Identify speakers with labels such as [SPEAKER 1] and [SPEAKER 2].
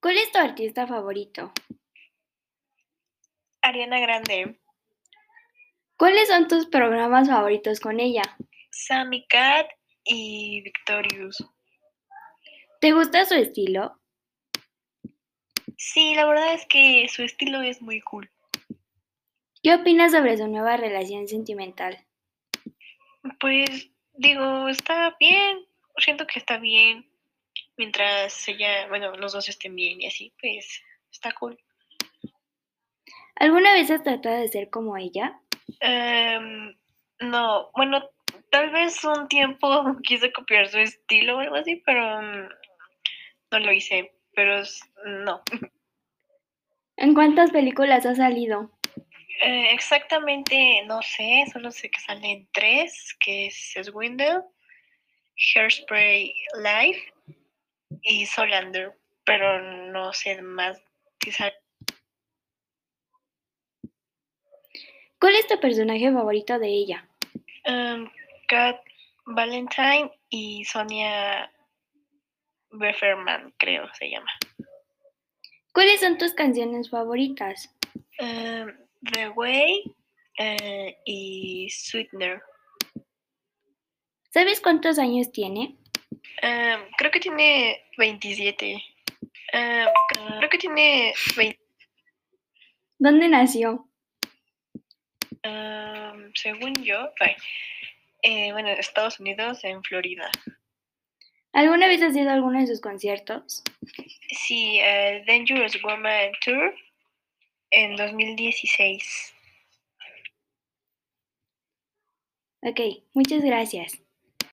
[SPEAKER 1] ¿Cuál es tu artista favorito?
[SPEAKER 2] Ariana Grande,
[SPEAKER 1] ¿Cuáles son tus programas favoritos con ella?
[SPEAKER 2] Sammy Cat y Victorious.
[SPEAKER 1] ¿Te gusta su estilo?
[SPEAKER 2] Sí, la verdad es que su estilo es muy cool.
[SPEAKER 1] ¿Qué opinas sobre su nueva relación sentimental?
[SPEAKER 2] Pues digo, está bien. Siento que está bien. Mientras ella, bueno, los dos estén bien y así, pues está cool.
[SPEAKER 1] ¿Alguna vez has tratado de ser como ella?
[SPEAKER 2] Em, no, bueno, tal vez un tiempo quise copiar su estilo o algo así, pero mm, no lo hice. Pero s- no.
[SPEAKER 1] ¿En cuántas películas ha salido?
[SPEAKER 2] Eh, exactamente, no sé, solo sé que salen tres, que es Swindle, Hairspray Live y Solander, pero no sé más. Quizá
[SPEAKER 1] ¿Cuál es tu personaje favorito de ella?
[SPEAKER 2] em, Kat Valentine y Sonia Befferman, creo se llama.
[SPEAKER 1] ¿Cuáles son tus canciones favoritas?
[SPEAKER 2] Em, The Way eh, y Sweetener.
[SPEAKER 1] ¿Sabes cuántos años tiene?
[SPEAKER 2] Em, creo que tiene 27. Em, creo que tiene 20.
[SPEAKER 1] ¿Dónde nació?
[SPEAKER 2] Am, según yo, ay, eh, bueno, Estados Unidos, en Florida.
[SPEAKER 1] ¿Alguna vez has ido a alguno de sus conciertos?
[SPEAKER 2] Sí, eh, Dangerous Woman Tour en 2016.
[SPEAKER 1] Ok, muchas gracias.